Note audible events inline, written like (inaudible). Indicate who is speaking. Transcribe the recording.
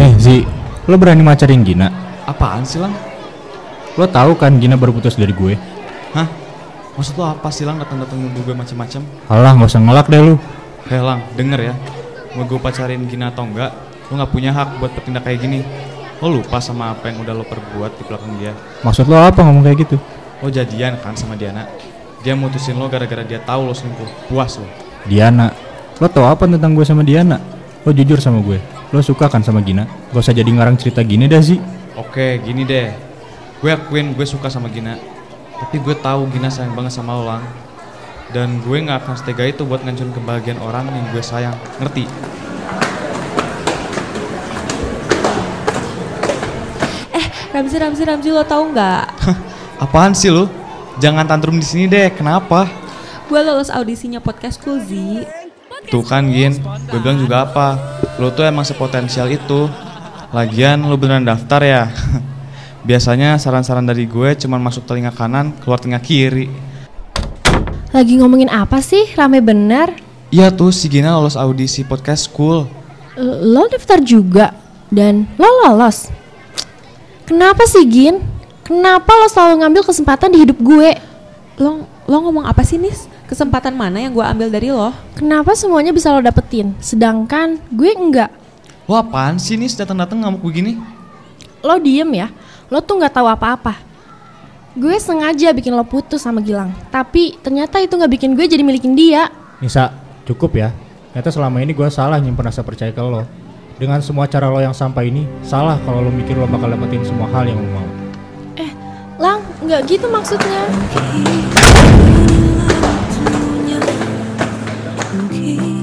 Speaker 1: Eh, Zi, lo berani macarin Gina?
Speaker 2: Apaan sih Lang?
Speaker 1: Lo tahu kan Gina baru putus dari gue?
Speaker 2: Hah? Maksud lo apa sih Lang datang-datang nuduh gue macem-macem?
Speaker 1: Alah, nggak usah ngelak deh lo.
Speaker 2: Hei Lang, denger ya. Mau gue pacarin Gina atau enggak, lo nggak punya hak buat bertindak kayak gini. Lo lupa sama apa yang udah lo perbuat di belakang dia.
Speaker 1: Maksud lo apa ngomong kayak gitu?
Speaker 2: Lo jadian kan sama Diana? Dia mutusin lo gara-gara dia tahu lo selingkuh. Puas lo.
Speaker 1: Diana, lo tau apa tentang gue sama Diana? Lo jujur sama gue, lo suka kan sama Gina? Gak usah jadi ngarang cerita gini dah Zi.
Speaker 2: Oke, gini deh. Gue akuin gue suka sama Gina. Tapi gue tahu Gina sayang banget sama lo, Lang. Dan gue nggak akan setega itu buat ngancurin kebahagiaan orang yang gue sayang. Ngerti?
Speaker 3: Eh, Ramzi, Ramzi, Ramzi, lo tau nggak?
Speaker 2: Hah, Apaan sih lo? Jangan tantrum di sini deh. Kenapa?
Speaker 3: Gue lolos audisinya podcast Kulzi.
Speaker 2: Tuh kan Gin, gue bilang juga apa? Lo tuh emang sepotensial itu. Lagian lo beneran daftar ya? (laughs) Biasanya saran-saran dari gue cuman masuk telinga kanan, keluar telinga kiri.
Speaker 4: Lagi ngomongin apa sih? Rame bener.
Speaker 2: Iya tuh, si Gina lolos audisi podcast school.
Speaker 4: L- Lo daftar juga dan lo lolos. Kenapa sih Gin? Kenapa lo selalu ngambil kesempatan di hidup gue?
Speaker 3: Lo, lo ngomong apa sih, Nis? Kesempatan mana yang gue ambil dari lo?
Speaker 4: Kenapa semuanya bisa lo dapetin, sedangkan gue enggak?
Speaker 2: Lo apaan sih nih datang-datang ngamuk begini?
Speaker 4: Lo diem ya, lo tuh nggak tahu apa-apa. Gue sengaja bikin lo putus sama Gilang, tapi ternyata itu nggak bikin gue jadi milikin dia.
Speaker 1: Nisa, cukup ya. Ternyata selama ini gue salah nyimpen rasa percaya ke lo. Dengan semua cara lo yang sampai ini, salah kalau lo mikir lo bakal dapetin semua hal yang lo mau.
Speaker 4: Eh, Lang, nggak gitu maksudnya.
Speaker 5: Mungkin